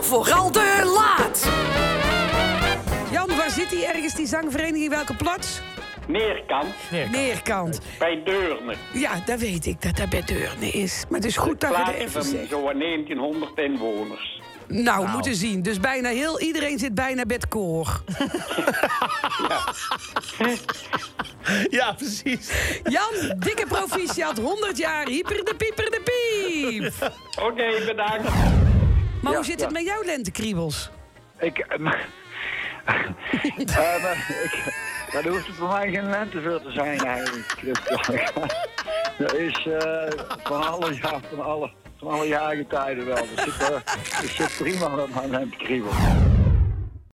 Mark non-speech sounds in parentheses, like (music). vooral te laat. Jan, waar zit die ergens, die zangvereniging? Welke plaats? Meerkant, Meerkant. bij Deurne. Ja, dat weet ik, dat dat bij Deurne is. Maar het is goed dat je er Plaats even van zegt. zo'n 1900 inwoners. Nou, moeten zien. Dus bijna heel iedereen zit bijna bij het koor. Ja, precies. Jan, dikke proficiat, 100 jaar, hyper de pieper de piep. Oké, bedankt. Maar Ja, hoe zit het ja. met jouw lentekriebels? Ik... ehm, eh, maar ik ja, er hoeft voor mij geen lente veel te zijn eigenlijk. Dus, (laughs) er is eh, van, alle, ja, van, alle, van alle jaargetijden wel. Dus ik, eh, ik zit prima met mijn lentekriebel.